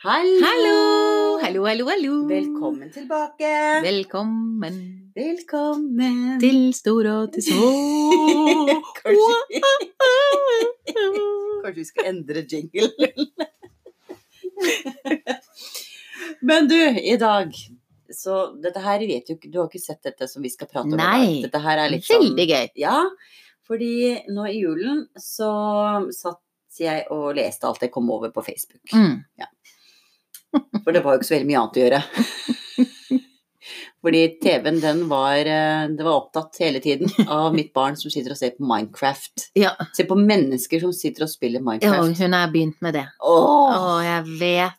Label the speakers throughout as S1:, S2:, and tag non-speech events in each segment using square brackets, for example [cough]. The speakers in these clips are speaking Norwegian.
S1: Hallo!
S2: Hallo! Hallo, hallo, hallo.
S1: Velkommen tilbake.
S2: Velkommen
S1: Velkommen [laughs]
S2: til stor og til små.
S1: Kanskje, kanskje vi skal endre jinglen. [laughs] Men du, i dag Så dette her vet jo ikke Du har ikke sett dette som vi skal prate om? i dag.
S2: Nei.
S1: Dette her er litt sånn
S2: Veldig gøy.
S1: Ja, fordi nå i julen så satt jeg og leste alt jeg kom over på Facebook.
S2: Mm.
S1: For det var jo ikke så veldig mye annet å gjøre. [laughs] Fordi TV-en, den var eh, Det var opptatt hele tiden av mitt barn som sitter og ser på Minecraft.
S2: Ja.
S1: Ser på mennesker som sitter og spiller
S2: Ja,
S1: Minecraft.
S2: hun har begynt med det. Å,
S1: Åh,
S2: jeg vet.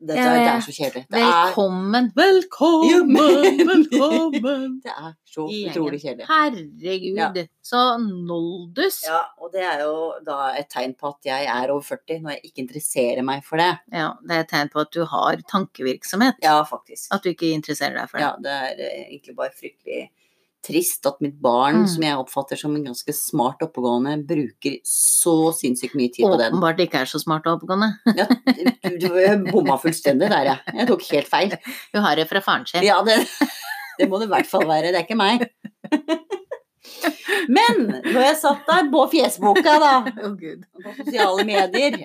S1: dette, er-
S2: jeg
S1: det
S2: vet.
S1: er så kjedelig. Det er,
S2: Velkommen.
S1: Ja, men-
S2: velkommen.
S1: det er så
S2: I gjengen.
S1: utrolig kjedelig.
S2: Herregud, så noldus.
S1: Ja, og det er jo da et tegn på at jeg er over 40, når jeg ikke interesserer meg for det.
S2: Ja, det er et tegn på at du har tankevirksomhet.
S1: Ja, faktisk.
S2: At du ikke interesserer deg for det.
S1: Ja, det er eh, egentlig bare fryktelig trist at mitt barn,
S2: Mm.
S1: som jeg oppfatter som en ganske smart oppegående, bruker så sinnssykt mye tid på den.
S2: Åpenbart ikke er så smart og oppegående.
S1: Ja, du, du bomma fullstendig der, jeg. Jeg tok helt feil.
S2: Hun har det fra faren sin.
S1: Ja, det, det må det i hvert fall være. Det er ikke meg. [laughs] Men når jeg satt der på fjesboka, da,
S2: Å, Gud.
S1: på sosiale medier,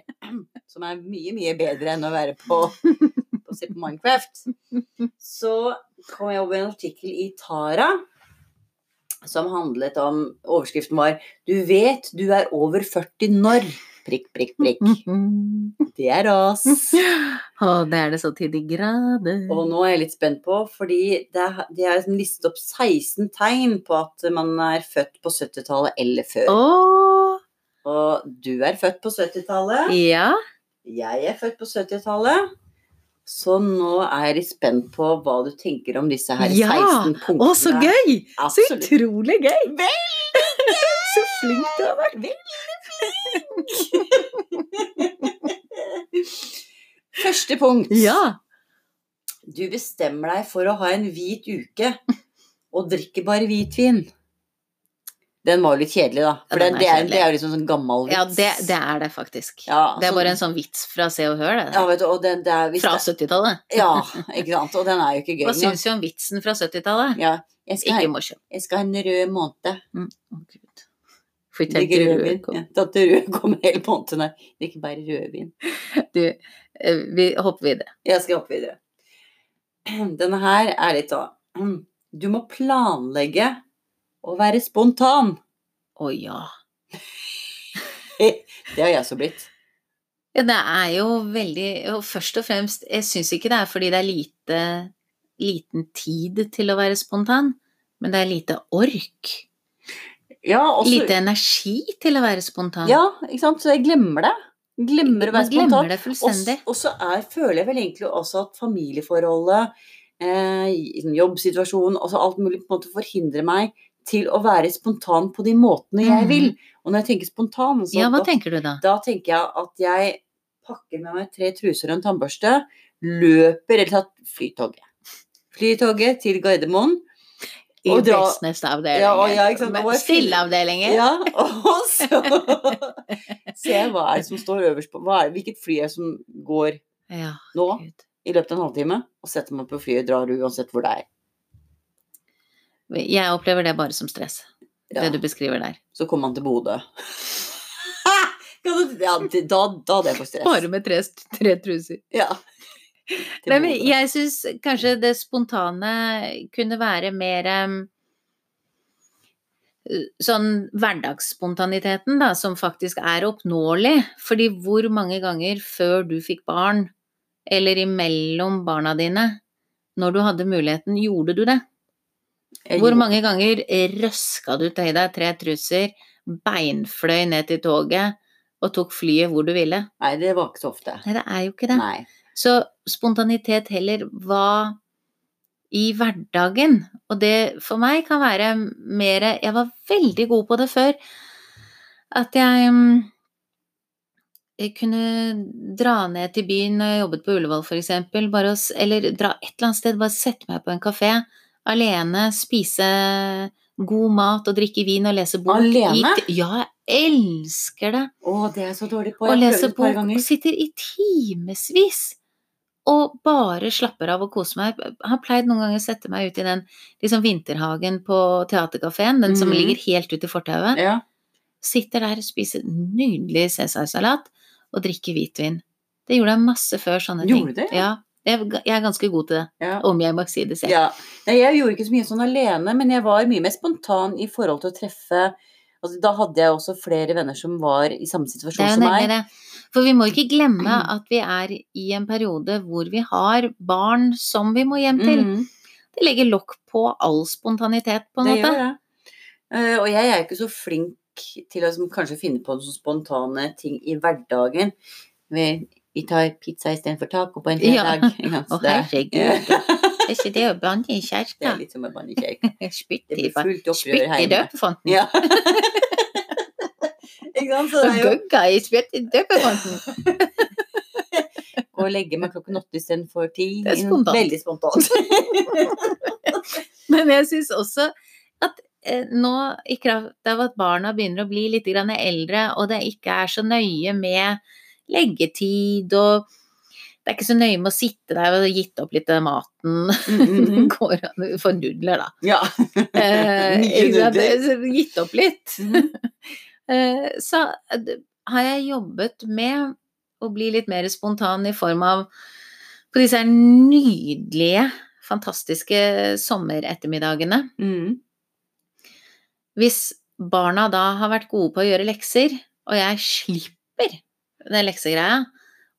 S1: som er mye, mye bedre enn å være på, på se på Minecraft, så kom jeg over en artikkel i Tara som handlet om Overskriften var 'Du vet du er over 40 når' Prikk, prikk, prikk.
S2: Mhm.
S1: Det er oss.
S2: Å, det er det så til de grader.
S1: Og nå er jeg litt spent på, fordi det er, de har liksom listet opp 16 tegn på at man er født på 70-tallet eller før.
S2: Å,
S1: Og du er født på 70-tallet.
S2: ja.
S1: Jeg er født på 70-tallet, så nå er jeg litt spent på hva du tenker om disse her
S2: Ja!
S1: 16 punktene.
S2: Å, så gøy! Så
S1: Absolutt.
S2: utrolig gøy! så flink du har vært.
S1: [laughs] Første punkt.
S2: Ja.
S1: Du bestemmer deg for å ha en hvit uke, og drikker bare hvitvin. Den var jo litt kjedelig, da. For
S2: Ja,
S1: det,
S2: den er
S1: det, er,
S2: kjedelig.
S1: det er jo liksom sånn gammel vits.
S2: ja det, det er det faktisk.
S1: Ja,
S2: Det
S1: så-
S2: er bare en sånn vits fra Se og Hør, det.
S1: Ja,
S2: der.
S1: vet du, og den, det er, hvis
S2: Fra
S1: det-
S2: 70-tallet.
S1: Ja, ikke sant. Og den er jo ikke gøy.
S2: Hva
S1: engang.
S2: syns du om vitsen fra 70-tallet?
S1: Ja, jeg, skal
S2: Ikke
S1: ha,
S2: morsom.
S1: jeg skal ha en rød måned.
S2: Å, Gud. Får ikke
S1: Drikke
S2: tenke
S1: rødvin.
S2: rødkom.
S1: Ja, Tatt rød [laughs] kommer hele måneden her. Drikker bare rødvin.
S2: Du, eh, vi hopper videre.
S1: Jeg skal hoppe videre. [clears throat] Denne her er litt sånn [clears throat] Du må planlegge å være spontan.
S2: Å ja.
S1: Det har jeg også blitt.
S2: Ja, det er jo veldig og Først og fremst, jeg syns ikke det er fordi det er lite, liten tid til å være spontan, men det er lite ork.
S1: Ja, også,
S2: Lite energi til å være spontan.
S1: ja, ikke sant. Så jeg glemmer det. Glemmer å være
S2: Man glemmer
S1: spontan.
S2: det
S1: Og
S2: fullstendig.
S1: s- Og så er- føler jeg vel egentlig også at familieforholdet, eh, i- sånn jobbsituasjonen, også alt mulig på en måte forhindrer meg til å være spontan på de måtene jeg
S2: Mhm.
S1: vil. Og når jeg tenker spontan, så
S2: Ja, hva
S1: da,
S2: tenker du da?
S1: da tenker jeg at jeg pakker med meg tre truser og en tannbørste, løper eller tar flytoget. Flytoget til Gardermoen.
S2: I
S1: og dra-
S2: businessavdelingen.
S1: Ja, ja, ikke sant,
S2: Men
S1: og jeg fyller-
S2: Stilleavdelingen.
S1: Ja, og så [laughs] ser jeg hva er det som står øverst på hva er, Hvilket fly er det som går
S2: Ja,
S1: nå?
S2: Gud.
S1: i løpet av en halvtime, og setter meg på flyet, drar uansett hvor det er.
S2: Jeg opplever det bare som stress,
S1: Ja.
S2: det du beskriver der.
S1: Så kommer man til Bodø. [laughs] Kan du- ja, det- da, da hadde jeg fått stress.
S2: Bare med tre, tre truser.
S1: Ja. Til
S2: Nei, men
S1: Bodø.
S2: jeg syns kanskje det spontane kunne være mer em, Sånn hverdagsspontaniteten, da, som faktisk er oppnåelig. Fordi hvor mange ganger før du fikk barn, eller imellom barna dine, når du hadde muligheten, gjorde du det?
S1: Jeg
S2: Hvor
S1: gjorde-
S2: mange ganger røska du til deg tre truser, beinfløy ned til toget og tok flyet hvor du ville?
S1: Nei, det var ikke så ofte.
S2: Nei, det er jo ikke det.
S1: Nei.
S2: Så spontanitet heller var i hverdagen. Og det for meg kan være mer Jeg var veldig god på det før. At jeg, mm, jeg kunne dra ned til byen når jeg jobbet på Ullevål f.eks. Bare å s- eller dra et eller annet sted, bare sette meg på en kafé alene, spise god mat og drikke vin og lese bok.
S1: Alene?
S2: I, ja, jeg elsker det.
S1: Å, det er jeg så dårlig på.
S2: Og
S1: Jeg har
S2: leser
S1: prøvd et par
S2: bok og
S1: ganger.
S2: sitter i timevis og bare slapper av og koser meg. Jeg har pleid noen ganger å sette meg ut i den liksom vinterhagen på teaterkafeen, den som
S1: Mhm.
S2: ligger helt ute i fortauet.
S1: Ja.
S2: Sitter der og spiser nydelig cæsarsalat og drikker hvitvin. Det gjorde jeg masse før sånne ting.
S1: Gjorde du det?
S2: Ja. Jeg er ga- jeg er ganske god til det,
S1: Ja.
S2: om jeg må si det selv.
S1: Ja. Nei, jeg gjorde ikke så mye sånn alene, men jeg var mye mer spontan i forhold til å treffe altså, Da hadde jeg også flere venner som var i samme situasjon
S2: Det er jo
S1: sånn som
S2: nemlig
S1: meg.
S2: det. For vi må ikke glemme at vi er i en periode hvor vi har barn som vi må hjem til.
S1: Mhm,
S2: Det legger lokk på all spontanitet, på en
S1: det
S2: måte.
S1: gjør det. Eh, og jeg er ikke så flink til å liksom, kanskje finne på sånne spontane ting i hverdagen. Vi, vi tar pizza istedenfor taco på en
S2: Ja.
S1: fredag. ikke sant?
S2: [laughs]
S1: Så
S2: Å,
S1: altså. [laughs] det-
S2: herregud. Er ikke det å blande i
S1: Det er
S2: kjerka?
S1: litt som å banne i kjøk. Det
S2: Spytt i
S1: blir fullt opprør
S2: spytt i
S1: hjemme.
S2: døpefonten.
S1: Ja. [laughs] ikke sant? Så det
S2: Og
S1: er jo
S2: gugga i spytt i døpefonten.
S1: gå og legge meg klokken åtte istedenfor ti.
S2: Det er spontant.
S1: Veldig spontant. [laughs]
S2: Men jeg syns også at eh, nå, i kraft av at barna begynner å bli litt grann eldre, og det ikke er så nøye med leggetid og det er ikke så nøye med å sitte der og gitt opp litt av maten. [laughs]
S1: Mhm.
S2: Går an for nudler,
S1: [laughs]
S2: da.
S1: Ja.
S2: Eh,
S1: Mye
S2: ikke sant?
S1: nudler.
S2: Så Gitt opp litt.
S1: Mhm.
S2: Eh, Så eh, d- har jeg jobbet med å bli litt mer spontan i form av på disse her nydelige, fantastiske sommerettermiddagene.
S1: Mhm.
S2: Hvis barna da har vært gode på å gjøre lekser, og jeg slipper den leksegreia,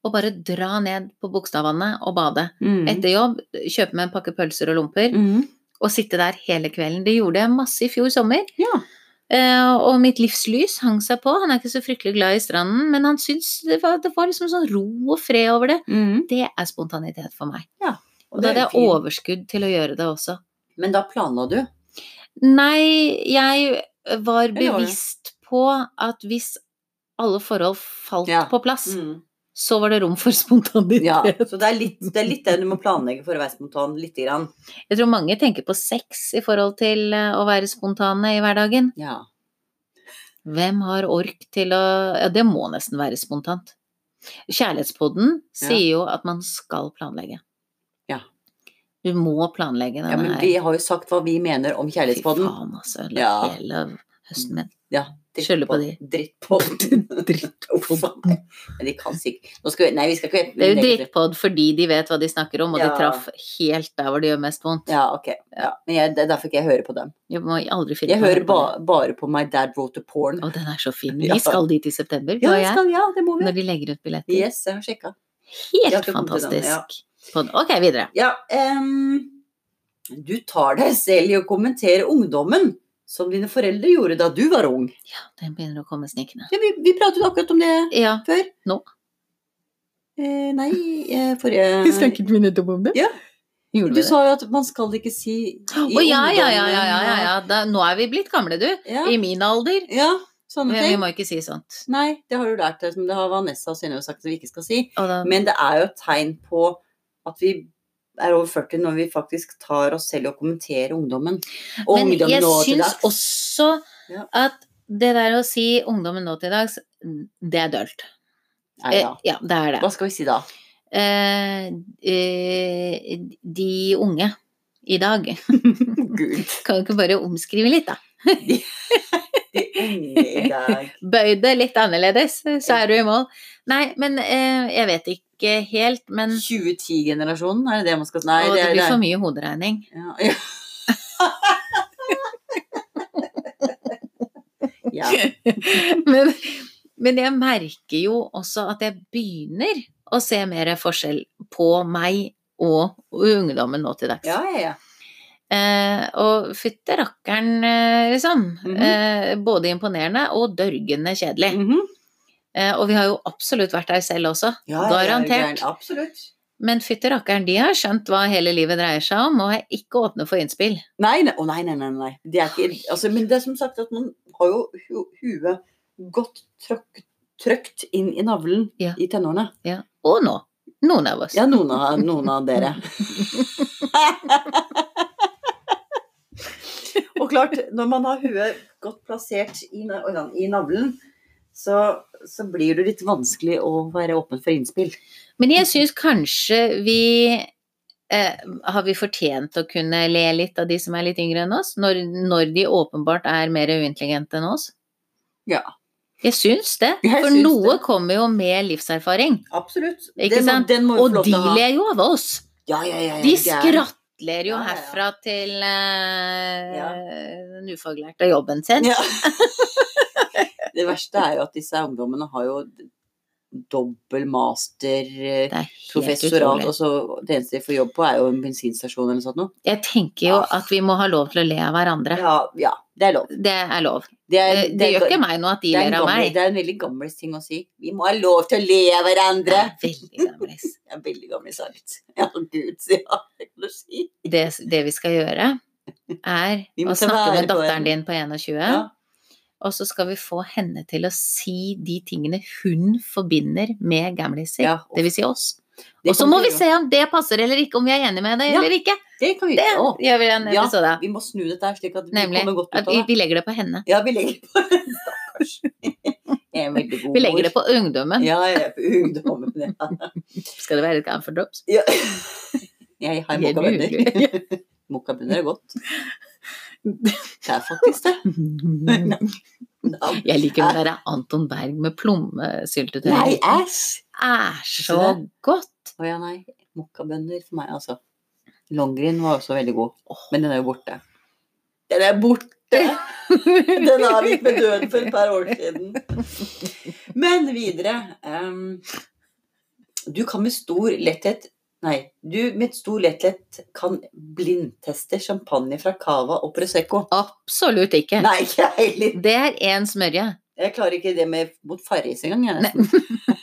S2: og bare dra ned på Bogstadvannet og bade.
S1: Mhm.
S2: Etter jobb, kjøpe meg en pakke pølser og lomper,
S1: Mhm.
S2: og sitte der hele kvelden. Det gjorde jeg masse i fjor sommer.
S1: Ja.
S2: Eh, og mitt livslys hang seg på. Han er ikke så fryktelig glad i stranden, men han syntes det var, det var liksom sånn ro og fred over det.
S1: Mhm.
S2: Det er spontanitet for meg.
S1: Og
S2: Og da
S1: det er jo
S2: hadde jeg
S1: fint.
S2: overskudd til å gjøre det også.
S1: Men da planla du?
S2: Nei, jeg var
S1: det var det.
S2: bevisst på at hvis alle forhold falt
S1: Ja. Mm.
S2: på plass, så var det rom for spontanitet. [laughs]
S1: Ja, så det er, litt, det er litt det du må planlegge for å være spontan. Lite grann.
S2: Jeg tror mange tenker på sex i forhold til eh, å være spontane i hverdagen.
S1: Ja.
S2: Hvem har ork til å Ja, det må nesten være spontant. Kjærlighetspodden
S1: Ja.
S2: sier jo at man skal planlegge.
S1: Ja.
S2: Du må planlegge denne
S1: ja, men vi har jo sagt hva vi mener om
S2: Fy
S1: kjærlighetspodden.
S2: faen, altså. ødela
S1: Ja.
S2: Hele høsten min. Skylder
S1: Drittpod-
S2: på de. [laughs]
S1: Drittpodden. Uff, nei. [laughs] Men de kan sikkert Nå skal vi Nei, vi skal ikke
S2: Det er jo drittpod fordi de vet hva de snakker om, og
S1: Ja.
S2: de traff helt der hvor det gjør mest vondt.
S1: Ja, ok. Ja. Men jeg, det er derfor ikke jeg hører på dem.
S2: Jeg må aldri finne
S1: Jeg
S2: på å
S1: hører
S2: høre på
S1: ba,
S2: det.
S1: bare på My Dad Wrote a Porn.
S2: Å, den er så fin.
S1: Ja.
S2: Vi skal dit i september, du
S1: Ja,
S2: og
S1: det
S2: jeg,
S1: skal, ja, det må vi.
S2: når de legger ut billetter.
S1: Yes, jeg har sjekka. Jeg har
S2: Helt
S1: ikke kommet til den, ja.
S2: fantastisk. Pod. Ok, videre.
S1: Ja, em, du tar deg selv i å kommentere ungdommen som dine foreldre gjorde da du var ung.
S2: Ja, den begynner å komme snikende.
S1: Ja, vi, vi pratet akkurat om det
S2: Ja.
S1: før.
S2: Nå?
S1: Eh, nei, eh, forrige
S2: vi nettopp om det?
S1: Ja. Du
S2: Gjorde vi det?
S1: sa jo at man skal ikke si i
S2: Å ja, ja, ja, ja, ja,
S1: ungdommen,
S2: ja. Da, nå er vi blitt gamle, du.
S1: eh, ja.
S2: I min alder.
S1: Ja, sånne
S2: Men vi
S1: ting.
S2: må ikke si sånt.
S1: Nei, det har du lært deg, som det har Vanessa og Synnøve sagt at vi ikke skal si.
S2: Og da,
S1: Men det er jo et tegn på at vi er over 40 når vi faktisk tar oss selv i å kommentere ungdommen. Og
S2: men jeg
S1: ungdommen nå til
S2: syns
S1: dags.
S2: også
S1: Ja.
S2: at det der å si ungdommen nå til dags, det er dølt.
S1: Nei,
S2: Eh,
S1: ja.
S2: Ja, det er det.
S1: Hva skal vi
S2: [laughs]
S1: si da?
S2: Eh, eh, de unge i dag
S1: Gud.
S2: Kan jo ikke bare omskrive litt, da.
S1: De unge i dag.
S2: Bøy det litt annerledes, så er du i mål. Nei, men eh, jeg vet ikke helt, men
S1: 2010-generasjonen, er det det man skal Nei, det
S2: Å, det
S1: er
S2: blir
S1: det.
S2: for mye hoderegning.
S1: Ja, [laughs] ja. ja.
S2: [laughs] men, men jeg merker jo også at jeg begynner å se mer forskjell på meg og ungdommen nå til dags.
S1: Ja, ja, ja.
S2: Eh, og fytte rakkeren, eh, liksom.
S1: Mhm.
S2: eh, både imponerende og dørgende kjedelig.
S1: Mhm.
S2: Eh, og vi har jo absolutt vært der selv også.
S1: Ja, ja, ja, ja,
S2: Garantert.
S1: gæren. Absolutt.
S2: Men fytte rakkeren, de har skjønt hva hele livet dreier seg om, og er ikke åpne for innspill.
S1: Nei, nei, å, nei, nei, nei, nei. Det er ikke, altså, men det er som sagt at man har jo hu huet godt trøkk- trøkt inn i navlen
S2: Ja.
S1: i tenårene.
S2: Ja. Og nå. Noen av oss.
S1: Ja, noen av, noen av dere. [laughs] og klart, når man har huet godt plassert i, na- oi, da, i navlen, så, så blir det litt vanskelig å være åpen for innspill.
S2: Men jeg syns kanskje vi eh, Har vi fortjent å kunne le litt av de som er litt yngre enn oss? Når, når de åpenbart er mer uintelligente enn oss?
S1: Ja.
S2: Jeg syns det.
S1: Jeg
S2: For
S1: syns
S2: noe
S1: det.
S2: kommer jo med livserfaring.
S1: Absolutt.
S2: Ikke
S1: Den må-
S2: sant?
S1: Den må vi
S2: Og
S1: få lov
S2: de
S1: til å ha.
S2: ler jo av oss.
S1: Ja, ja, ja, ja,
S2: De
S1: det er-
S2: skrattler jo
S1: Ja, ja, ja.
S2: herfra til eh,
S1: Ja.
S2: den ufaglærte jobben sin.
S1: Ja. [laughs] det verste er jo at disse ungdommene har jo dobbel master, eh,
S2: Det er helt
S1: professorat,
S2: utrolig.
S1: og så det eneste de får jobb på, er jo en bensinstasjon eller noe sånt noe.
S2: Jeg tenker jo at vi må ha lov til å le av hverandre.
S1: Ja, ja, det er lov.
S2: Det er lov.
S1: Det, er,
S2: Eh, Det gjør ikke meg noe at de
S1: det er en
S2: ler av
S1: gammel-
S2: meg.
S1: Det er en veldig gammel ting å si. Vi må ha lov til å le av hverandre.
S2: Det er veldig gammeldags.
S1: Det er en veldig gammel sagt. Ja, gud, [laughs] så ja, det kan du si.
S2: det, det vi skal gjøre, er
S1: [laughs] Vi må
S2: å
S1: ta
S2: snakke
S1: vare
S2: med
S1: på
S2: datteren
S1: henne.
S2: din på 21,
S1: Ja.
S2: og så skal vi få henne til å si de tingene hun forbinder med gamliser,
S1: Ja, og-
S2: det vil si oss.
S1: Det
S2: Og så
S1: kan
S2: må
S1: vi
S2: vi
S1: gjøre.
S2: se om det passer eller ikke, om vi er enige med det
S1: Ja,
S2: eller ikke.
S1: Det kan vi
S2: Det
S1: gjøre. Å,
S2: gjør vi i en
S1: Ja.
S2: episode.
S1: vi må snu dette her, slik at vi
S2: Nemlig.
S1: kommer godt ut
S2: At
S1: av
S2: vi,
S1: det.
S2: vi legger det på henne.
S1: Ja, vi legger det på Stakkars. Jeg er en veldig god
S2: Vi legger det på ungdommen.
S1: Ja, jeg er på ungdommen. Ja.
S2: Skal det være litt for
S1: [laughs]
S2: drops?
S1: Ja. Jeg har
S2: Helt
S1: mokkabønner. Mokkabønner er godt. Det er faktisk det.
S2: Jeg liker den derre Anton Berg med plommesyltetøy.
S1: Nei, æsj!
S2: er så godt!
S1: Å ja, nei. Mokkabønner for meg, altså. Longgreen var også veldig god, men den er jo borte. Den er borte! Den avgikk med døden for et par [laughs] år siden. Men videre ehm, Du kan med stor letthet Nei, du med stor letthet kan blindteste champagne fra Cava og Prosecco.
S2: Absolutt ikke.
S1: Nei, ikke jeg heller.
S2: Det er én smørje.
S1: Jeg klarer ikke det med mot Farris engang, jeg nesten.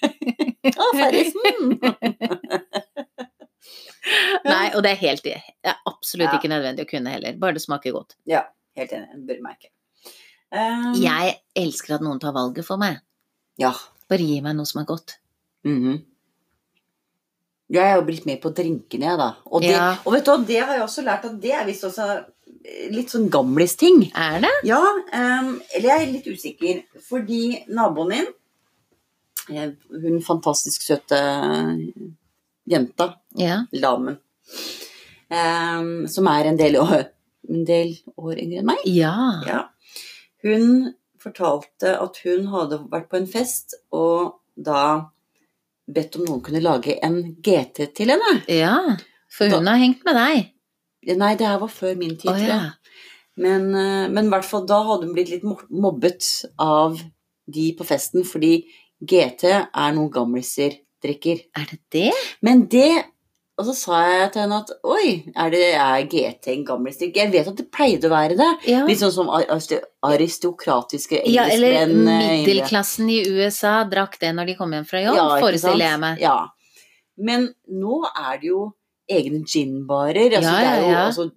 S1: [laughs] Å, mm. Farrisen!
S2: Nei, og det er helt det er absolutt
S1: Ja.
S2: ikke nødvendig å kunne heller. Bare det smaker godt.
S1: Helt enig, den bør meg ikke. Ehm,
S2: Jeg elsker at noen tar valget for meg.
S1: Ja.
S2: Bare gi meg noe som er godt.
S1: mhm. Jeg er jo blitt med på drinkene, jeg, da. Og, det,
S2: Ja.
S1: og vet du, hva, det har jeg også lært at det er visst også eh, litt sånn gamlis-ting.
S2: Er det?
S1: Ja, ehm, eller jeg er litt usikker, fordi naboen min, eh, hun fantastisk søte eh, jenta,
S2: Ja.
S1: lamen. Ehm, som er en del år, en del år yngre enn meg.
S2: Ja.
S1: Ja. Hun fortalte at hun hadde vært på en fest, og da bedt om noen kunne lage en GT til henne.
S2: ja. For hun har hengt med deg.
S1: Nei, det her var før min tid,
S2: Å
S1: tror
S2: ja.
S1: jeg. Men, eh, men i hvert fall da hadde hun blitt litt mo- mobbet av de på festen, fordi GT er noe gamliser drikker.
S2: Er det det?
S1: Men det Og så sa jeg til henne at oi, er, det, er GT en gammel strikk? Jeg vet at det pleide å være det.
S2: Ja.
S1: Litt sånn som ar- aristo- aristokratiske
S2: Ja, eller
S1: engelskmenn. eh, i det.
S2: middelklassen i USA drakk det når de kom hjem fra jobb,
S1: ikke
S2: forestiller jeg
S1: sant?
S2: meg.
S1: Ja. Men nå er det jo egne ginbarer. Altså,
S2: Ja,
S1: det, er jo,
S2: ja, ja.
S1: altså,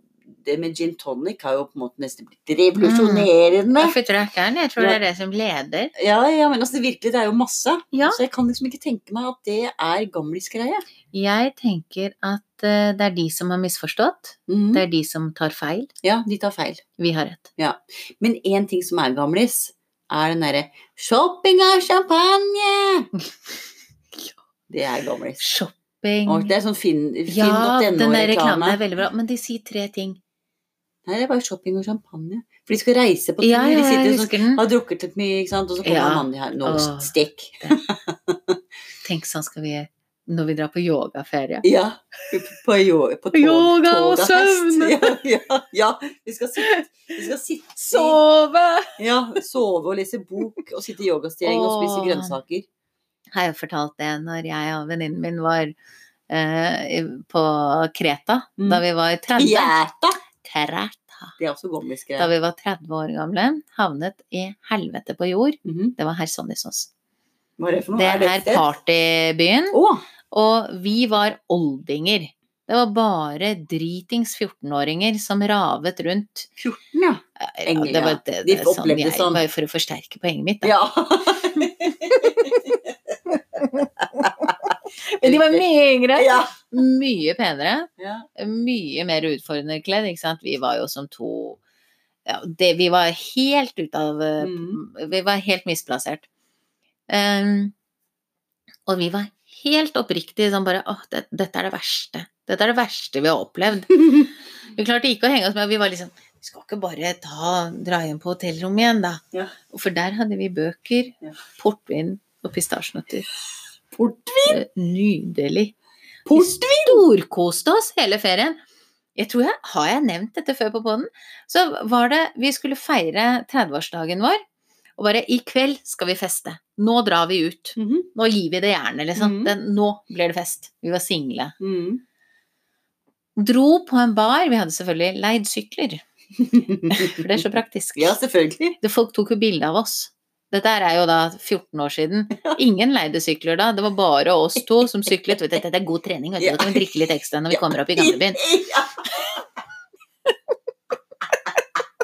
S1: det med gin tonic har jo på en måte nesten blitt revolusjonerende.
S2: Ja, for drøkkeren, jeg tror
S1: Ja.
S2: det er det som leder.
S1: Ja, ja, men altså, virkelig, det er jo masse.
S2: Ja.
S1: Så jeg kan liksom ikke tenke meg at det er gamlisgreie.
S2: Jeg tenker at eh, det er de som har misforstått,
S1: Mm.
S2: det er de som tar feil.
S1: Ja, de tar feil.
S2: Vi har rett.
S1: Men én ting som er gamlis, er den derre 'shopping av
S2: [laughs]
S1: champagne'. Det er gamlis.
S2: Shopping
S1: Og det er sånn finn-
S2: Ja, den
S1: finn.no-reklame.
S2: der reklamen er veldig bra. Men de sier tre ting.
S1: Nei, det er bare shopping og champagne. For de skal reise på tur.
S2: Ja, ja,
S1: de sitter og
S2: jeg
S1: sånn,
S2: husker den.
S1: har drukket litt mye, ikke sant, og så kommer
S2: Ja.
S1: mannen her. Nå,
S2: Åh.
S1: stikk.
S2: Tenk sånn skal vi når vi drar på yogaferie.
S1: Ja. På, jo, på tog,
S2: Yoga og
S1: togafest.
S2: søvn.
S1: [laughs] Ja, ja, ja. Vi skal sitte, vi skal sitte
S2: Sove!
S1: Ja, sove og lese bok og sitte i yogastilling og spise
S2: Åh.
S1: grønnsaker.
S2: Har jeg jo fortalt det når jeg og venninnen min var eh, på Kreta
S1: Mm.
S2: da vi var 30.
S1: Jæta!
S2: Kreta.
S1: Det er også gommisgreier.
S2: Da vi var 30 år gamle, havnet i helvete på jord.
S1: Mhm.
S2: Det var Hersonissos.
S1: Hva er det for noe?
S2: Det er
S1: et sted?
S2: partybyen.
S1: Å!
S2: Og vi var oldinger. Det var bare dritings 14-åringer som ravet rundt.
S1: 14, ja.
S2: Ja,
S1: Engler,
S2: det var
S1: ja.
S2: det,
S1: De
S2: det, er sånn
S1: opplevde
S2: jeg,
S1: sånn.
S2: Bare for å forsterke poenget mitt, da.
S1: ja.
S2: [laughs] Men de var mye yngre,
S1: ja.
S2: mye penere,
S1: ja.
S2: mye mer utfordrende kledd, ikke sant. Vi var jo som to ja, det, Vi var helt ute av eh,
S1: Mm.
S2: Vi var helt misplassert. Ehm, og vi var helt oppriktig sånn bare åh, det, dette er det verste. Dette er det verste vi har opplevd. Vi klarte ikke å henge oss med, vi var liksom Vi skal ikke bare ta, dra hjem på hotellrommet igjen, da.
S1: Ja.
S2: For der hadde vi bøker,
S1: Ja.
S2: portvin og pistasjenøtter.
S1: Portvin!
S2: Eh, Nydelig. Vi storkoste oss hele ferien. Jeg tror jeg har jeg nevnt dette før på poden. Så var det Vi skulle feire 30-årsdagen vår, og bare i kveld skal vi feste. Nå drar vi ut.
S1: Mhm.
S2: Nå gir vi det jernet, liksom.
S1: Mhm.
S2: Den, nå blir det fest. Vi var single.
S1: Mm. [laughs]
S2: Dro på en bar. Vi hadde selvfølgelig leid sykler, for det er så praktisk.
S1: ja, selvfølgelig.
S2: Det folk tok jo bilde av oss. Dette her er jo da 14 år siden. [laughs] Ingen leide sykler da. Det var bare oss to som syklet. Vet du, dette er god trening, vet du. Da kan vi drikke litt ekstra når vi kommer opp i gamlebyen.
S1: Ja.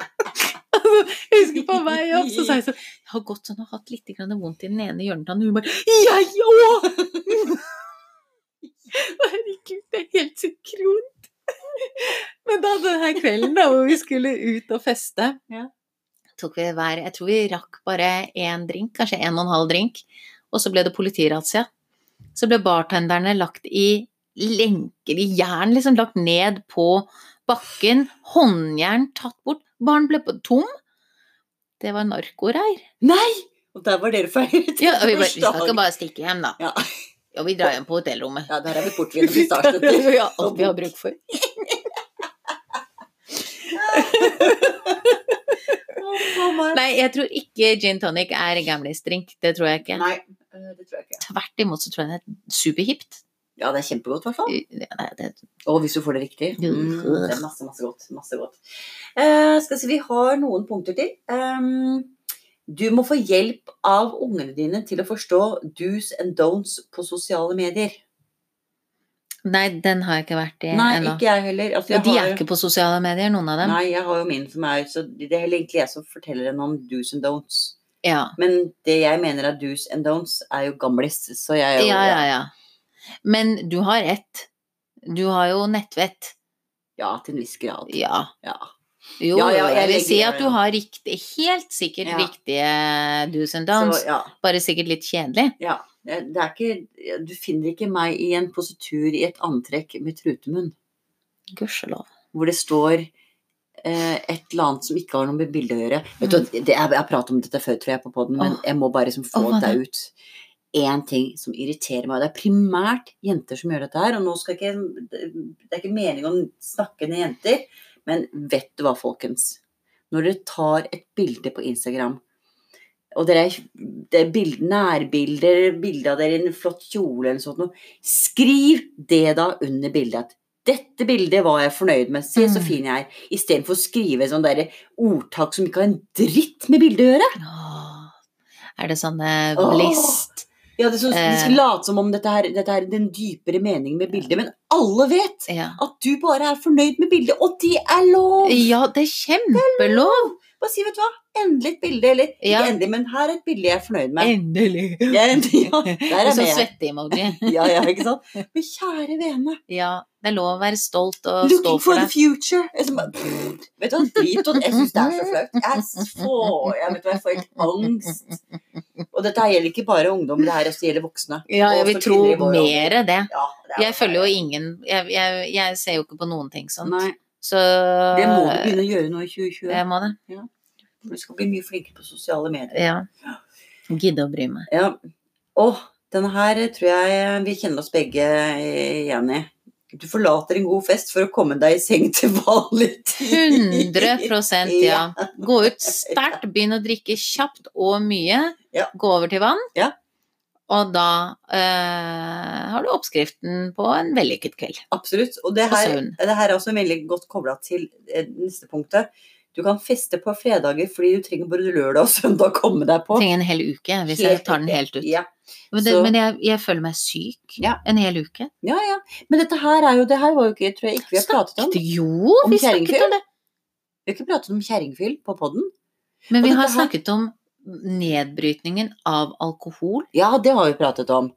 S2: Jeg husker på vei opp, så sa jeg sånn Jeg har gått sånn og hatt litt grann vondt i den ene hjørnetannen. Hun bare Jeg òg! [laughs] Herregud, det er helt synkront. [laughs] Men da den her kvelden da, hvor vi skulle ut og feste,
S1: Ja.
S2: tok vi hver Jeg tror vi rakk bare én drink, kanskje en og en halv drink. Og så ble det politirazzia. Så ble bartenderne lagt i lenker i jern, liksom lagt ned på bakken. Håndjern tatt bort. Barn ble på- tom. Det var narkoreir.
S1: Nei! Og der var dere feiret.
S2: [laughs] Ja, og vi, bare, vi skal ikke bare stikke hjem, da.
S1: Ja.
S2: Og vi drar hjem på hotellrommet.
S1: Ja, der er vi portvin og
S2: [laughs]
S1: pistasjenøtter.
S2: Ja, alt vi har bruk for. Nei, jeg tror ikke gin tonic er gamlisdrink. Det tror jeg ikke.
S1: Nei, eh, det tror jeg ikke.
S2: Tvert imot så tror jeg det er superhipt.
S1: Ja, det er kjempegodt, i hvert fall.
S2: Ja, det- det-
S1: Og hvis du får det riktig.
S2: Ja.
S1: Mm, det er masse, masse godt. Masse godt. Eh, skal vi si, vi har noen punkter til. Um, du må få hjelp av ungene dine til å forstå do's and don'ts på sosiale medier.
S2: Nei, den har jeg ikke vært i
S1: Nei,
S2: ennå.
S1: ikke jeg heller. Altså,
S2: Og
S1: jeg
S2: de
S1: har
S2: er
S1: jo-
S2: ikke på sosiale medier, noen av dem.
S1: Nei, jeg har jo mine som er Så det er heller egentlig jeg som forteller henne om do's and don'ts.
S2: Ja.
S1: Men det jeg mener er do's and don'ts, er jo gamlis, så jeg er jo
S2: ja, ja, ja. Men du har rett. Du har jo nettvett.
S1: ja, til en viss grad.
S2: Ja.
S1: Ja.
S2: Jo,
S1: Ja, ja, jeg
S2: jeg vil
S1: legger-
S2: si at du har riktig, helt sikkert
S1: Ja.
S2: riktige do's and
S1: Så,
S2: don'ts,
S1: ja,
S2: bare sikkert litt kjedelig.
S1: ja. Det er ikke, du finner ikke meg i en positur i et antrekk med trutemunn,
S2: Gudskjelov.
S1: hvor det står eh, et eller annet som ikke har noe med bildet å gjøre. Vet du, det, jeg jeg har pratet om dette før, tror jeg, på podden, men
S2: Mm. Åh.
S1: jeg må bare liksom få
S2: Åh, hva
S1: det ut. Én ting som irriterer meg, og det er primært jenter som gjør dette her, og nå skal ikke Det er ikke meningen å snakke ned jenter, men vet du hva, folkens? Når dere tar et bilde på Instagram, og dere er- det er bild, nærbilder, bilde av dere i en flott kjole eller sånt noe, skriv det da under bildet. at Dette bildet var jeg fornøyd med. Se så
S2: Mm.
S1: fin jeg er. Istedenfor å skrive sånn derre ordtak som ikke har en dritt med bildet å gjøre.
S2: Åh. Er det sånn, eh, sånne
S1: Åh.
S2: list
S1: Ja, det er sånn- de skal
S2: Eh.
S1: late som om dette her, dette her er den dypere meningen med bildet, men alle vet
S2: ja.
S1: at du bare er fornøyd med bildet, og det er lov!
S2: ja, det er kjempelov!
S1: Bare si, vet du hva, endelig et bilde, eller
S2: Ja.
S1: ikke endelig, men her er et bilde jeg er fornøyd med.
S2: Endelig!
S1: Ja, endelig, ja.
S2: [laughs]
S1: Der er
S2: Og så
S1: jeg med.
S2: svette-emoji.
S1: [laughs] Ja, ja, ikke sant? Men kjære vene,
S2: Ja, det er lov å være stolt og stå
S1: looking
S2: for
S1: for the
S2: det.
S1: future! Jeg som bare, pff, vet du hva, drit og jeg syns det er så flaut. Jeg s- får, jeg vet hva, jeg får helt angst. Og dette her gjelder ikke bare ungdom, det her også gjelder voksne.
S2: Ja, jeg
S1: Og
S2: vil
S1: for
S2: tro
S1: kvinner i vår
S2: mer det.
S1: Ja, det er-
S2: Jeg følger jo ingen Jeg, jeg, jeg ser jo ikke på noen ting sånn.
S1: Nei,
S2: Så
S1: det må du begynne å gjøre nå i 2020.
S2: Jeg må det.
S1: Du skal bli mye flinkere på sosiale medier.
S2: Ja. Gidde å bry
S1: [laughs]
S2: meg.
S1: Ja. Åh, denne her tror jeg vi kjenner oss begge igjen i. Du forlater en god fest for å komme deg i seng til vanlig tid.
S2: 100
S1: [laughs]
S2: ja. Gå ut sterkt, begynn å drikke kjapt og mye.
S1: Ja.
S2: Gå over til vann.
S1: Ja.
S2: Og da eh, har du oppskriften på en vellykket kveld.
S1: Absolutt. Og det
S2: Og
S1: her,
S2: søvn.
S1: det her er også veldig godt kobla til eh, neste punktet. Du kan feste på fredager fordi du trenger både lørdag og søndag å komme deg på.
S2: Trenger en hel uke hvis jeg
S1: Helt
S2: tar den helt ut.
S1: Ja.
S2: Men, det,
S1: så-
S2: men jeg, jeg føler meg syk
S1: Ja.
S2: en hel uke.
S1: ja, ja. Men dette her er jo Det her var jo ikke, tror jeg ikke vi har pratet om.
S2: Snakket- Jo,
S1: Om
S2: vi snakket
S1: kjerringfyll?
S2: om det.
S1: Vi har ikke pratet om kjerringfyll på poden.
S2: Men
S1: Og
S2: vi
S1: dette
S2: har
S1: her-
S2: snakket om nedbrytningen av alkohol.
S1: Ja, det har vi pratet om.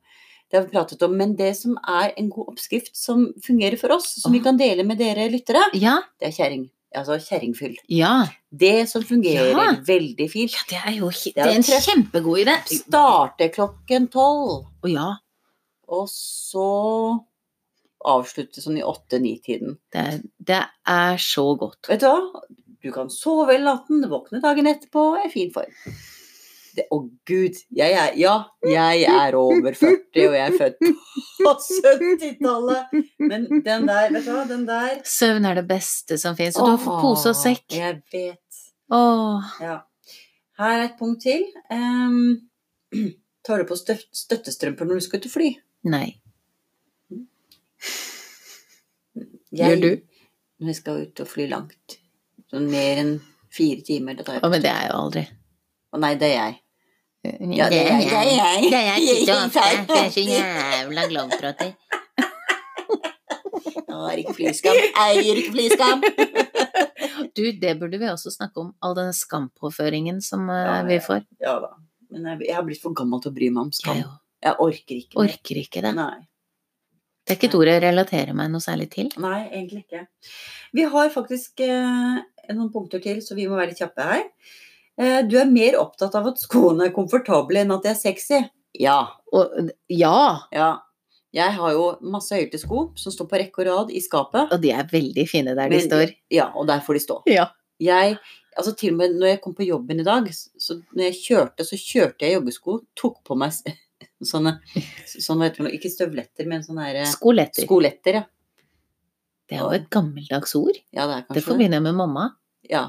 S1: Det har vi pratet om, Men det som er en god oppskrift som fungerer for oss, som vi
S2: Åh.
S1: kan dele med dere lyttere,
S2: Ja,
S1: det er kjerring. altså kjerringfyll.
S2: Ja.
S1: Det som fungerer
S2: Ja.
S1: veldig fint.
S2: ja, det er jo hi-
S1: Det er
S2: det er en
S1: treff.
S2: kjempegod idé.
S1: Starte klokken tolv,
S2: Å ja,
S1: og så avslutte sånn i åtte-ni-tiden.
S2: det er, det er så godt.
S1: Vet du hva? Du kan sove hele natten, våkne dagen etterpå, er i fin form. Det, å gud, jeg er, ja, jeg er over 40, og jeg er født på 70-tallet. Men den der, vet du hva, den der
S2: Søvn er det beste som finnes, og du har fått pose og
S1: Åh,
S2: sekk.
S1: Jeg vet.
S2: Åh,
S1: Ja. Her er et punkt til. Ehm, [clears throat] tar du på støt støttestrømper når du skal ut og fly?
S2: nei.
S1: Jeg-
S2: Gjør du?
S1: Når jeg skal ut og fly langt. Sånn mer enn fire timer. Da tar jeg
S2: Å, men det er jo aldri.
S1: Å nei, det er jeg.
S2: Ja,
S1: det er jeg.
S2: Det er jeg titt og ofte.
S1: [laughs] Jeg
S2: Jeg er så jævla globetrotter.
S1: Har ikke flyskam. Eier ikke flyskam.
S2: Du, det burde vi også snakke om. All denne skampåføringen som eh,
S1: Ja, ja,
S2: vi får.
S1: [laughs] Ja da. Men jeg, jeg har blitt for gammel til å bry meg om skam.
S2: Jeg
S1: Jeg orker ikke mer.
S2: orker ikke det.
S1: Nei.
S2: Det er ikke et ord jeg relaterer meg noe særlig til.
S1: Nei, egentlig ikke. Vi har faktisk eh, noen punkter til, så vi må være litt kjappe her. Eh, du er mer opptatt av at skoene er komfortable enn at de er sexy. Ja.
S2: Og ja,
S1: ja. Jeg har jo masse høyte sko som står på rekke og rad i skapet.
S2: og de er veldig fine der de
S1: Men-
S2: står.
S1: Ja, og der får de stå.
S2: Ja.
S1: Jeg, altså til og med når jeg kom på jobben i dag, s- så når jeg kjørte, så kjørte jeg joggesko, tok på meg s- [laughs] sånne, sånne hva heter det, nå, ikke støvletter, men sånne her, eh,
S2: Skoletter.
S1: skoletter, ja.
S2: Det er jo et gammeldags ord.
S1: Ja, det er
S2: Det
S1: kanskje det.
S2: forbinder jeg med mamma.
S1: Ja.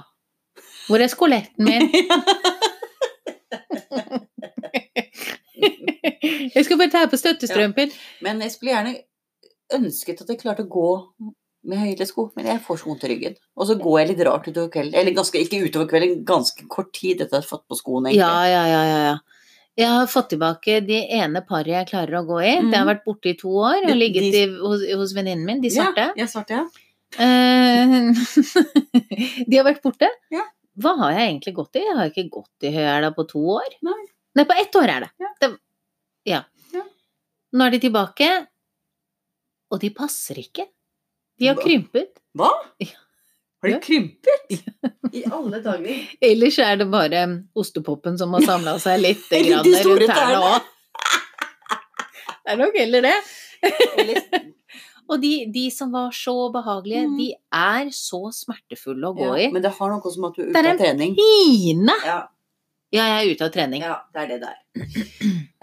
S2: Hvor er skoletten [laughs] min? Jeg skal bare ta på støttestrømpen.
S1: Men jeg skulle gjerne ønsket at jeg klarte å gå med høyhælte sko, men jeg får så vondt i ryggen. Og så går jeg litt rart utover kvelden, eller ganske, ikke utover kvelden, ganske kort tid etter at jeg har fått på skoene. egentlig.
S2: Ja, ja, ja, ja. ja. Jeg har fått tilbake de ene paret jeg klarer å gå i. Det har vært borte i to år. Jeg har
S1: De-
S2: ligget
S1: de-
S2: i, hos, hos venninnen min, de svarte.
S1: Ja, jeg svarte, ja.
S2: Eh, [laughs] de har vært borte.
S1: Ja.
S2: Hva har jeg egentlig gått i? Jeg har ikke gått i høyhæla på to år.
S1: Nei.
S2: Nei, på ett år er det.
S1: Ja.
S2: det ja.
S1: Ja.
S2: Nå er de tilbake, og de passer ikke. De har
S1: Hva?
S2: krympet.
S1: Har de
S2: Ja.
S1: krympet?
S2: [laughs]
S1: I alle dager.
S2: Ellers er det bare ostepopen som har samla seg litt
S1: [laughs] Eller de
S2: grann rundt
S1: store
S2: tærne
S1: tærne.
S2: òg. [laughs] Det er nok heller det. [laughs]
S1: Eller,
S2: Og de, de som var så behagelige,
S1: Mm.
S2: de er så smertefulle å gå
S1: ja,
S2: i.
S1: men det har noe som at du er
S2: Det
S1: ute
S2: er
S1: av trening.
S2: Pine!
S1: Ja,
S2: Ja, jeg er ute av trening.
S1: ja, det er det der. [clears throat]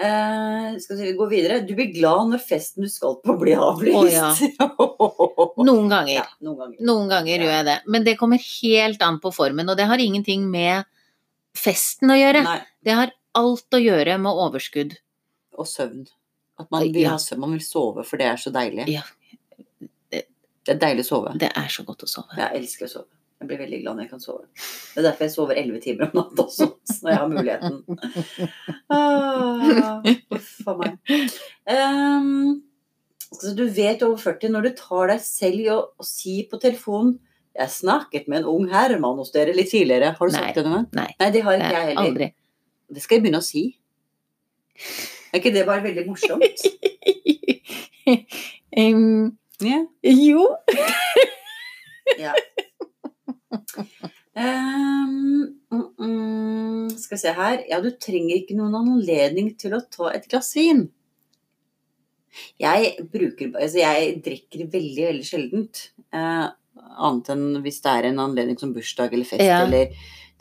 S1: Eh, skal vi si, vi går videre. Du blir glad når festen du skal på blir
S2: Å,
S1: avlyst.
S2: ja.
S1: [laughs] ja.
S2: Noen ganger.
S1: noen ganger.
S2: Noen
S1: Ja.
S2: ganger gjør jeg det. Men det kommer helt an på formen, og det har ingenting med festen å gjøre.
S1: Nei,
S2: Det har alt å gjøre med overskudd.
S1: og søvn. At man vil,
S2: Ja.
S1: ha søvn, man vil sove, for det er så deilig.
S2: Ja.
S1: Det er deilig å sove.
S2: Det er så godt å sove.
S1: Jeg elsker å sove. Jeg blir veldig glad når jeg kan sove. Det er derfor jeg sover elleve timer om natta også, [laughs] så når jeg har muligheten. Ah, Uff a meg. Ehm, så du vet over 40 når du tar deg selv i å, å si på telefonen 'Jeg snakket med en ung herremann hos dere litt tidligere.' Har du
S2: Nei,
S1: sagt det noen gang?
S2: nei.
S1: nei, det har
S2: Det
S1: ikke jeg
S2: er
S1: heller.
S2: aldri.
S1: Det skal jeg begynne å si. Er ikke det bare veldig
S2: [laughs]
S1: morsomt?
S2: Em,
S1: Ja.
S2: jo.
S1: Ja. Ehm, mm, mm, skal vi se her Ja, du trenger ikke noen anledning til å ta et glass vin. Jeg bruker Altså, jeg drikker veldig, veldig sjeldent. Eh, annet enn hvis det er en anledning som bursdag eller fest
S2: Ja.
S1: eller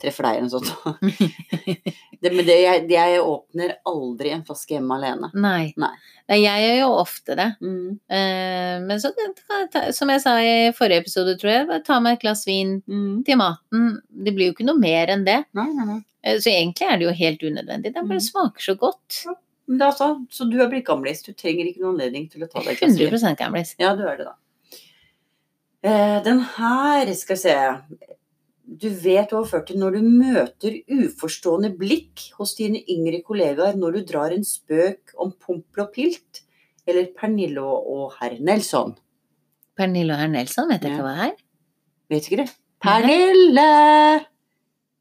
S1: treffer deg eller noe sånt. [laughs] det, men det, jeg, jeg åpner aldri en flaske hjemme alene.
S2: Nei.
S1: Nei.
S2: Nei, jeg gjør jo ofte det.
S1: Mm,
S2: Eh, Men så kan kan jeg ta, som jeg sa i forrige episode, tror jeg, bare ta meg et glass vin
S1: mm.
S2: til maten. Det blir jo ikke noe mer enn det.
S1: Nei, nei, nei.
S2: Eh, Så egentlig er det jo helt unødvendig. Det
S1: Mm.
S2: bare smaker så godt.
S1: Men det er altså, så du er blitt gamlis. Du trenger ikke noen anledning til å ta deg et glass vin.
S2: 100 gamlis.
S1: Ja, du er det, da. Eh, Den her, skal vi se Du vet over 40 når du møter uforstående blikk hos dine yngre kollegaer når du drar en spøk om Pompel og Pilt eller Pernille og og herr Nelson.
S2: Pernille og herr Nelson, vet jeg
S1: Ja.
S2: ikke hva det er.
S1: Vet ikke det. Pernille!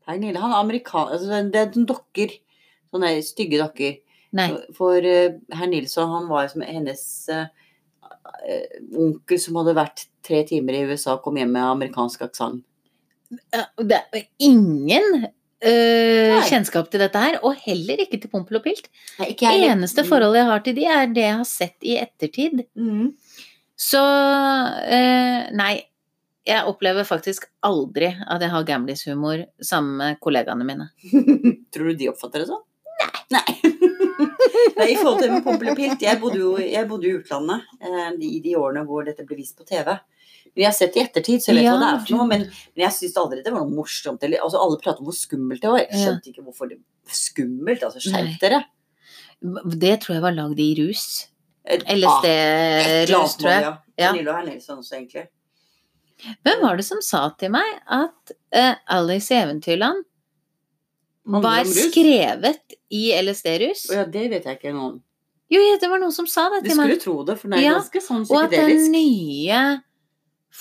S1: Pernille, han er amerikaner altså, Det er sånne dokker. Sånne stygge dokker.
S2: Nei.
S1: For eh, herr Nilsson, han var som hennes eh, eh, onkel som hadde vært tre timer i USA og kom hjem med amerikansk aksent.
S2: Ja, Det er ingen øh,
S1: Nei.
S2: kjennskap til dette her, og heller ikke til pompel og pilt.
S1: Nei, ikke
S2: Det
S1: jeg heller.
S2: eneste forholdet jeg har til de, er det jeg har sett i ettertid.
S1: Mm. [laughs]
S2: Så øh, nei, jeg opplever faktisk aldri at jeg har gamblishumor sammen med kollegaene mine.
S1: Tror du de oppfatter det sånn? Nei. [laughs] Nei, I forhold til Pompel og Pilt, jeg bodde jo jeg bodde i utlandet eh, i de årene hvor dette ble vist på TV. Men jeg har sett i ettertid, så jeg vet hva det er for noe. Men, men jeg syns aldri det var noe morsomt. Eller, altså, alle prater om hvor skummelt det var. Jeg skjønte ikke hvorfor det var skummelt. Altså, skjerp
S2: Nei.
S1: dere.
S2: Det tror jeg var lagd i rus.
S1: Et- ah, et eller
S2: LSD-rus,
S1: annet
S2: tror jeg.
S1: må vi ha.
S2: Ja.
S1: Pernille og Hernilsen også, egentlig.
S2: Hvem var det som sa til meg at eh, Alice i Eventyrland
S1: Handler
S2: var
S1: om rus?
S2: skrevet i LSD-rus?
S1: Å ja, det vet jeg ikke noe om.
S2: Jo, ja, det var noen som sa det
S1: Du
S2: til meg.
S1: skulle tro det, for den er
S2: Ja,
S1: ganske sånn
S2: Og at den
S1: psykedelisk.
S2: nye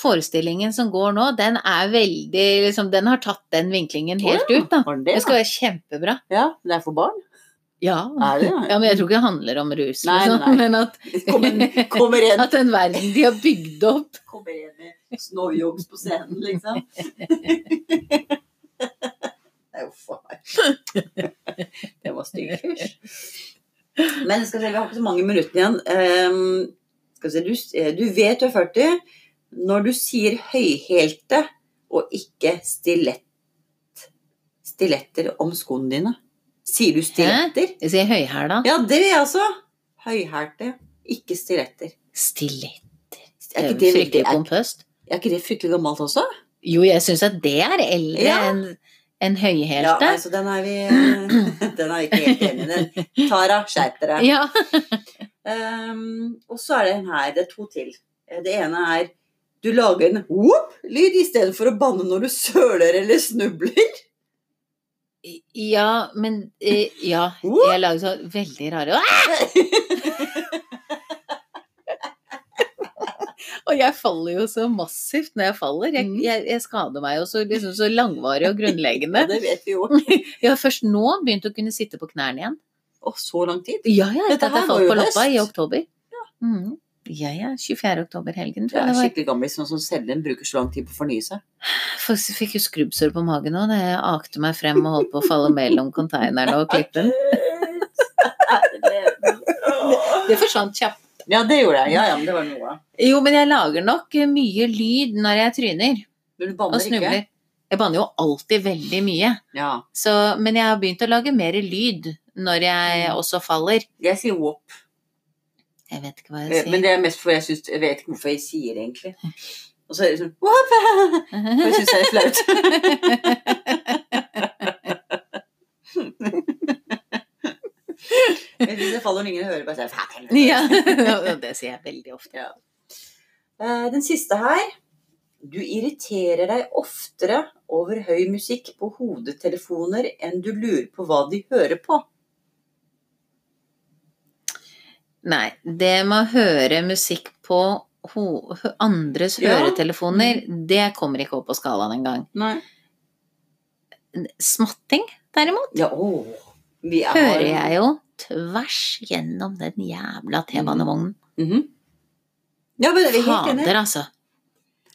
S2: forestillingen som går nå, den er veldig liksom, Den har tatt den vinklingen helt
S1: Å ja,
S2: ut, da.
S1: Var den
S2: Det
S1: det?
S2: skal være kjempebra.
S1: Ja, det er for barn.
S2: Ja.
S1: Er det?
S2: ja, men jeg tror ikke det handler om rus,
S1: Nei,
S2: liksom,
S1: nei, nei.
S2: men at,
S1: [laughs] Kommer, kommer en
S2: at den verden de har bygd opp
S1: kommer inn i snowjogs på scenen, [laughs] liksom. Nei, uff a meg. Det var stygg kurs. Men skal vi se, vi har ikke så mange minuttene igjen. Ehm, skal vi se, du, s- eh, du vet du er 40 når du sier høyhælte og ikke stilett. Stiletter om skoene dine. Sier du stiletter?
S2: Jeg sier høyhæla.
S1: Ja, det gjør jeg også. Høyhælte, ikke stiletter.
S2: Stilett.
S1: Er ikke det,
S2: eh, Fryktelig
S1: veldig- er,
S2: pompøst.
S1: er ikke det fryktelig gammelt også?
S2: Jo, jeg syns at det er eldre
S1: Ja.
S2: enn enn
S1: Ja, altså.
S2: høyhælte.
S1: nei, så den er vi eh, [clears throat] Den er vi ikke helt enig i.
S2: [laughs]
S1: den. Tara, skjerp dere.
S2: Ja.
S1: Ehm, og så er det en her. Det er to til. Eh, Det ene er du lager en whoop-lyd istedenfor å banne når du søler eller
S2: [laughs]
S1: snubler.
S2: Ja, men eh, Ja.
S1: Whoop.
S2: Jeg lager så veldig rare Og jeg faller jo så massivt når jeg faller. Jeg,
S1: Mm.
S2: jeg, jeg skader meg jo så, liksom, så langvarig og grunnleggende.
S1: [laughs] Ja, det vet vi jo.
S2: [laughs] Jeg har først nå begynt å kunne sitte på knærne igjen.
S1: Å, så lang tid.
S2: Ja, ja,
S1: Dette
S2: etter at
S1: her var
S2: jeg falt
S1: jo
S2: på loppa i
S1: høst.
S2: oktober. Mm. Ja, ja. 24. oktober-helgen,
S1: Du
S2: tror
S1: er
S2: jeg det var.
S1: skikkelig gammel sånn som Selden bruker så lang tid på å fornye seg.
S2: Folk fikk jo skrubbsår på magen òg da jeg akte meg frem og holdt på å falle mellom konteinerne og
S1: [laughs]
S2: klippen. Det forsvant kjapt.
S1: Ja, det gjorde jeg. Ja, ja, men det var noe.
S2: Jo, men jeg lager nok eh, mye lyd når jeg tryner
S1: Men du
S2: og
S1: banner ikke?
S2: snubler. Jeg banner jo alltid veldig mye.
S1: Ja.
S2: Så, men jeg har begynt å lage mer lyd når jeg
S1: Mm.
S2: også faller.
S1: Jeg sier whoop.
S2: Jeg vet ikke hva jeg
S1: Eh, Men
S2: sier.
S1: det er mest fordi jeg syns Jeg vet ikke hvorfor jeg sier det, egentlig. Og så er det sånn «Whoop!» For jeg syns det er flaut. Men Hvis det faller og ingen hører, bare sier «Faen, [laughs] helvete».
S2: ja, og det sier jeg veldig ofte.
S1: Eh, Den siste her. Du irriterer deg oftere over høy musikk på hodetelefoner enn du lurer på hva de hører på.
S2: Nei, det med å høre musikk på ho hø- andres
S1: Ja. Mm.
S2: høretelefoner, det kommer ikke opp på skalaen engang.
S1: Nei.
S2: Smatting, derimot,
S1: Ja, åh. Vi er-
S2: hører jeg jo tvers gjennom den jævla T-banevognen.
S1: Mhm. Ja, men det er vi helt enige.
S2: Fader, altså.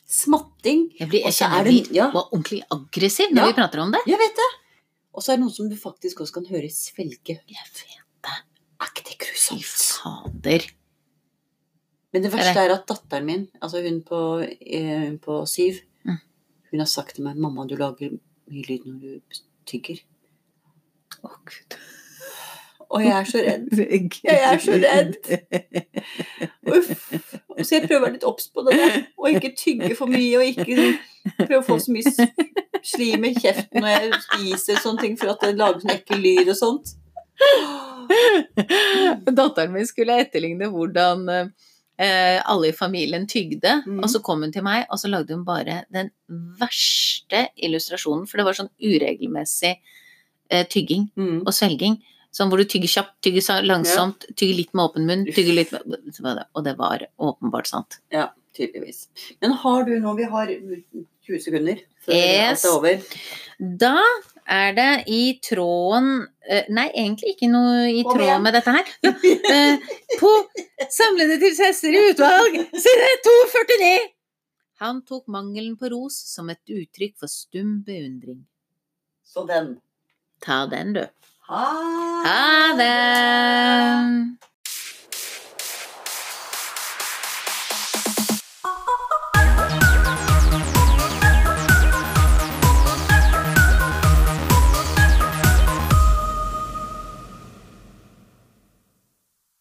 S1: Smatting
S2: Jeg, blir,
S1: Og
S2: jeg
S1: så er
S2: kjenner
S1: det-
S2: vi
S1: ja.
S2: var ordentlig aggressiv når
S1: Ja.
S2: vi prater om det.
S1: Jeg vet det. Og så er det noen som du faktisk også kan høre svelge.
S2: Jeg vet,
S1: Er ikke det
S2: fy
S1: grusomt?
S2: fader.
S1: Men det verste er at datteren min, altså hun på, eh, på syv,
S2: Mm.
S1: hun har sagt til meg 'Mamma, du lager mye lyd når du tygger'.
S2: Å, Gud.
S1: Og jeg er så redd. Jeg er så redd. Uff. Og Så jeg prøver å være litt obs på det der. Og ikke tygge for mye, og ikke sånn prøve å få så mye s- slim i kjeften når jeg spiser sånne ting, for at det lager sånn ekkel lyd og sånt.
S2: [laughs] Datteren min skulle etterligne hvordan eh, alle i familien tygde,
S1: Mhm.
S2: og så kom hun til meg, og så lagde hun bare den verste illustrasjonen, for det var sånn uregelmessig eh, tygging
S1: Mm.
S2: og svelging. Sånn hvor du tygger kjapt, tygger sa- langsomt, tygger litt med åpen munn, tygger litt med så var det- Og det var åpenbart sant.
S1: Tydeligvis. Men har du nå Vi har 20 sekunder før
S2: Yes.
S1: alt er over.
S2: Da er det i tråden eh, Nei, egentlig ikke noe i
S1: Kom
S2: tråd
S1: igjen.
S2: med dette her. [laughs]
S1: [laughs]
S2: Eh, På Samlende til hester i utvalg, side 249, Han tok mangelen på ros som et uttrykk for stum beundring.
S1: Så den.
S2: Ta den, du.
S1: Ha
S2: Ha det!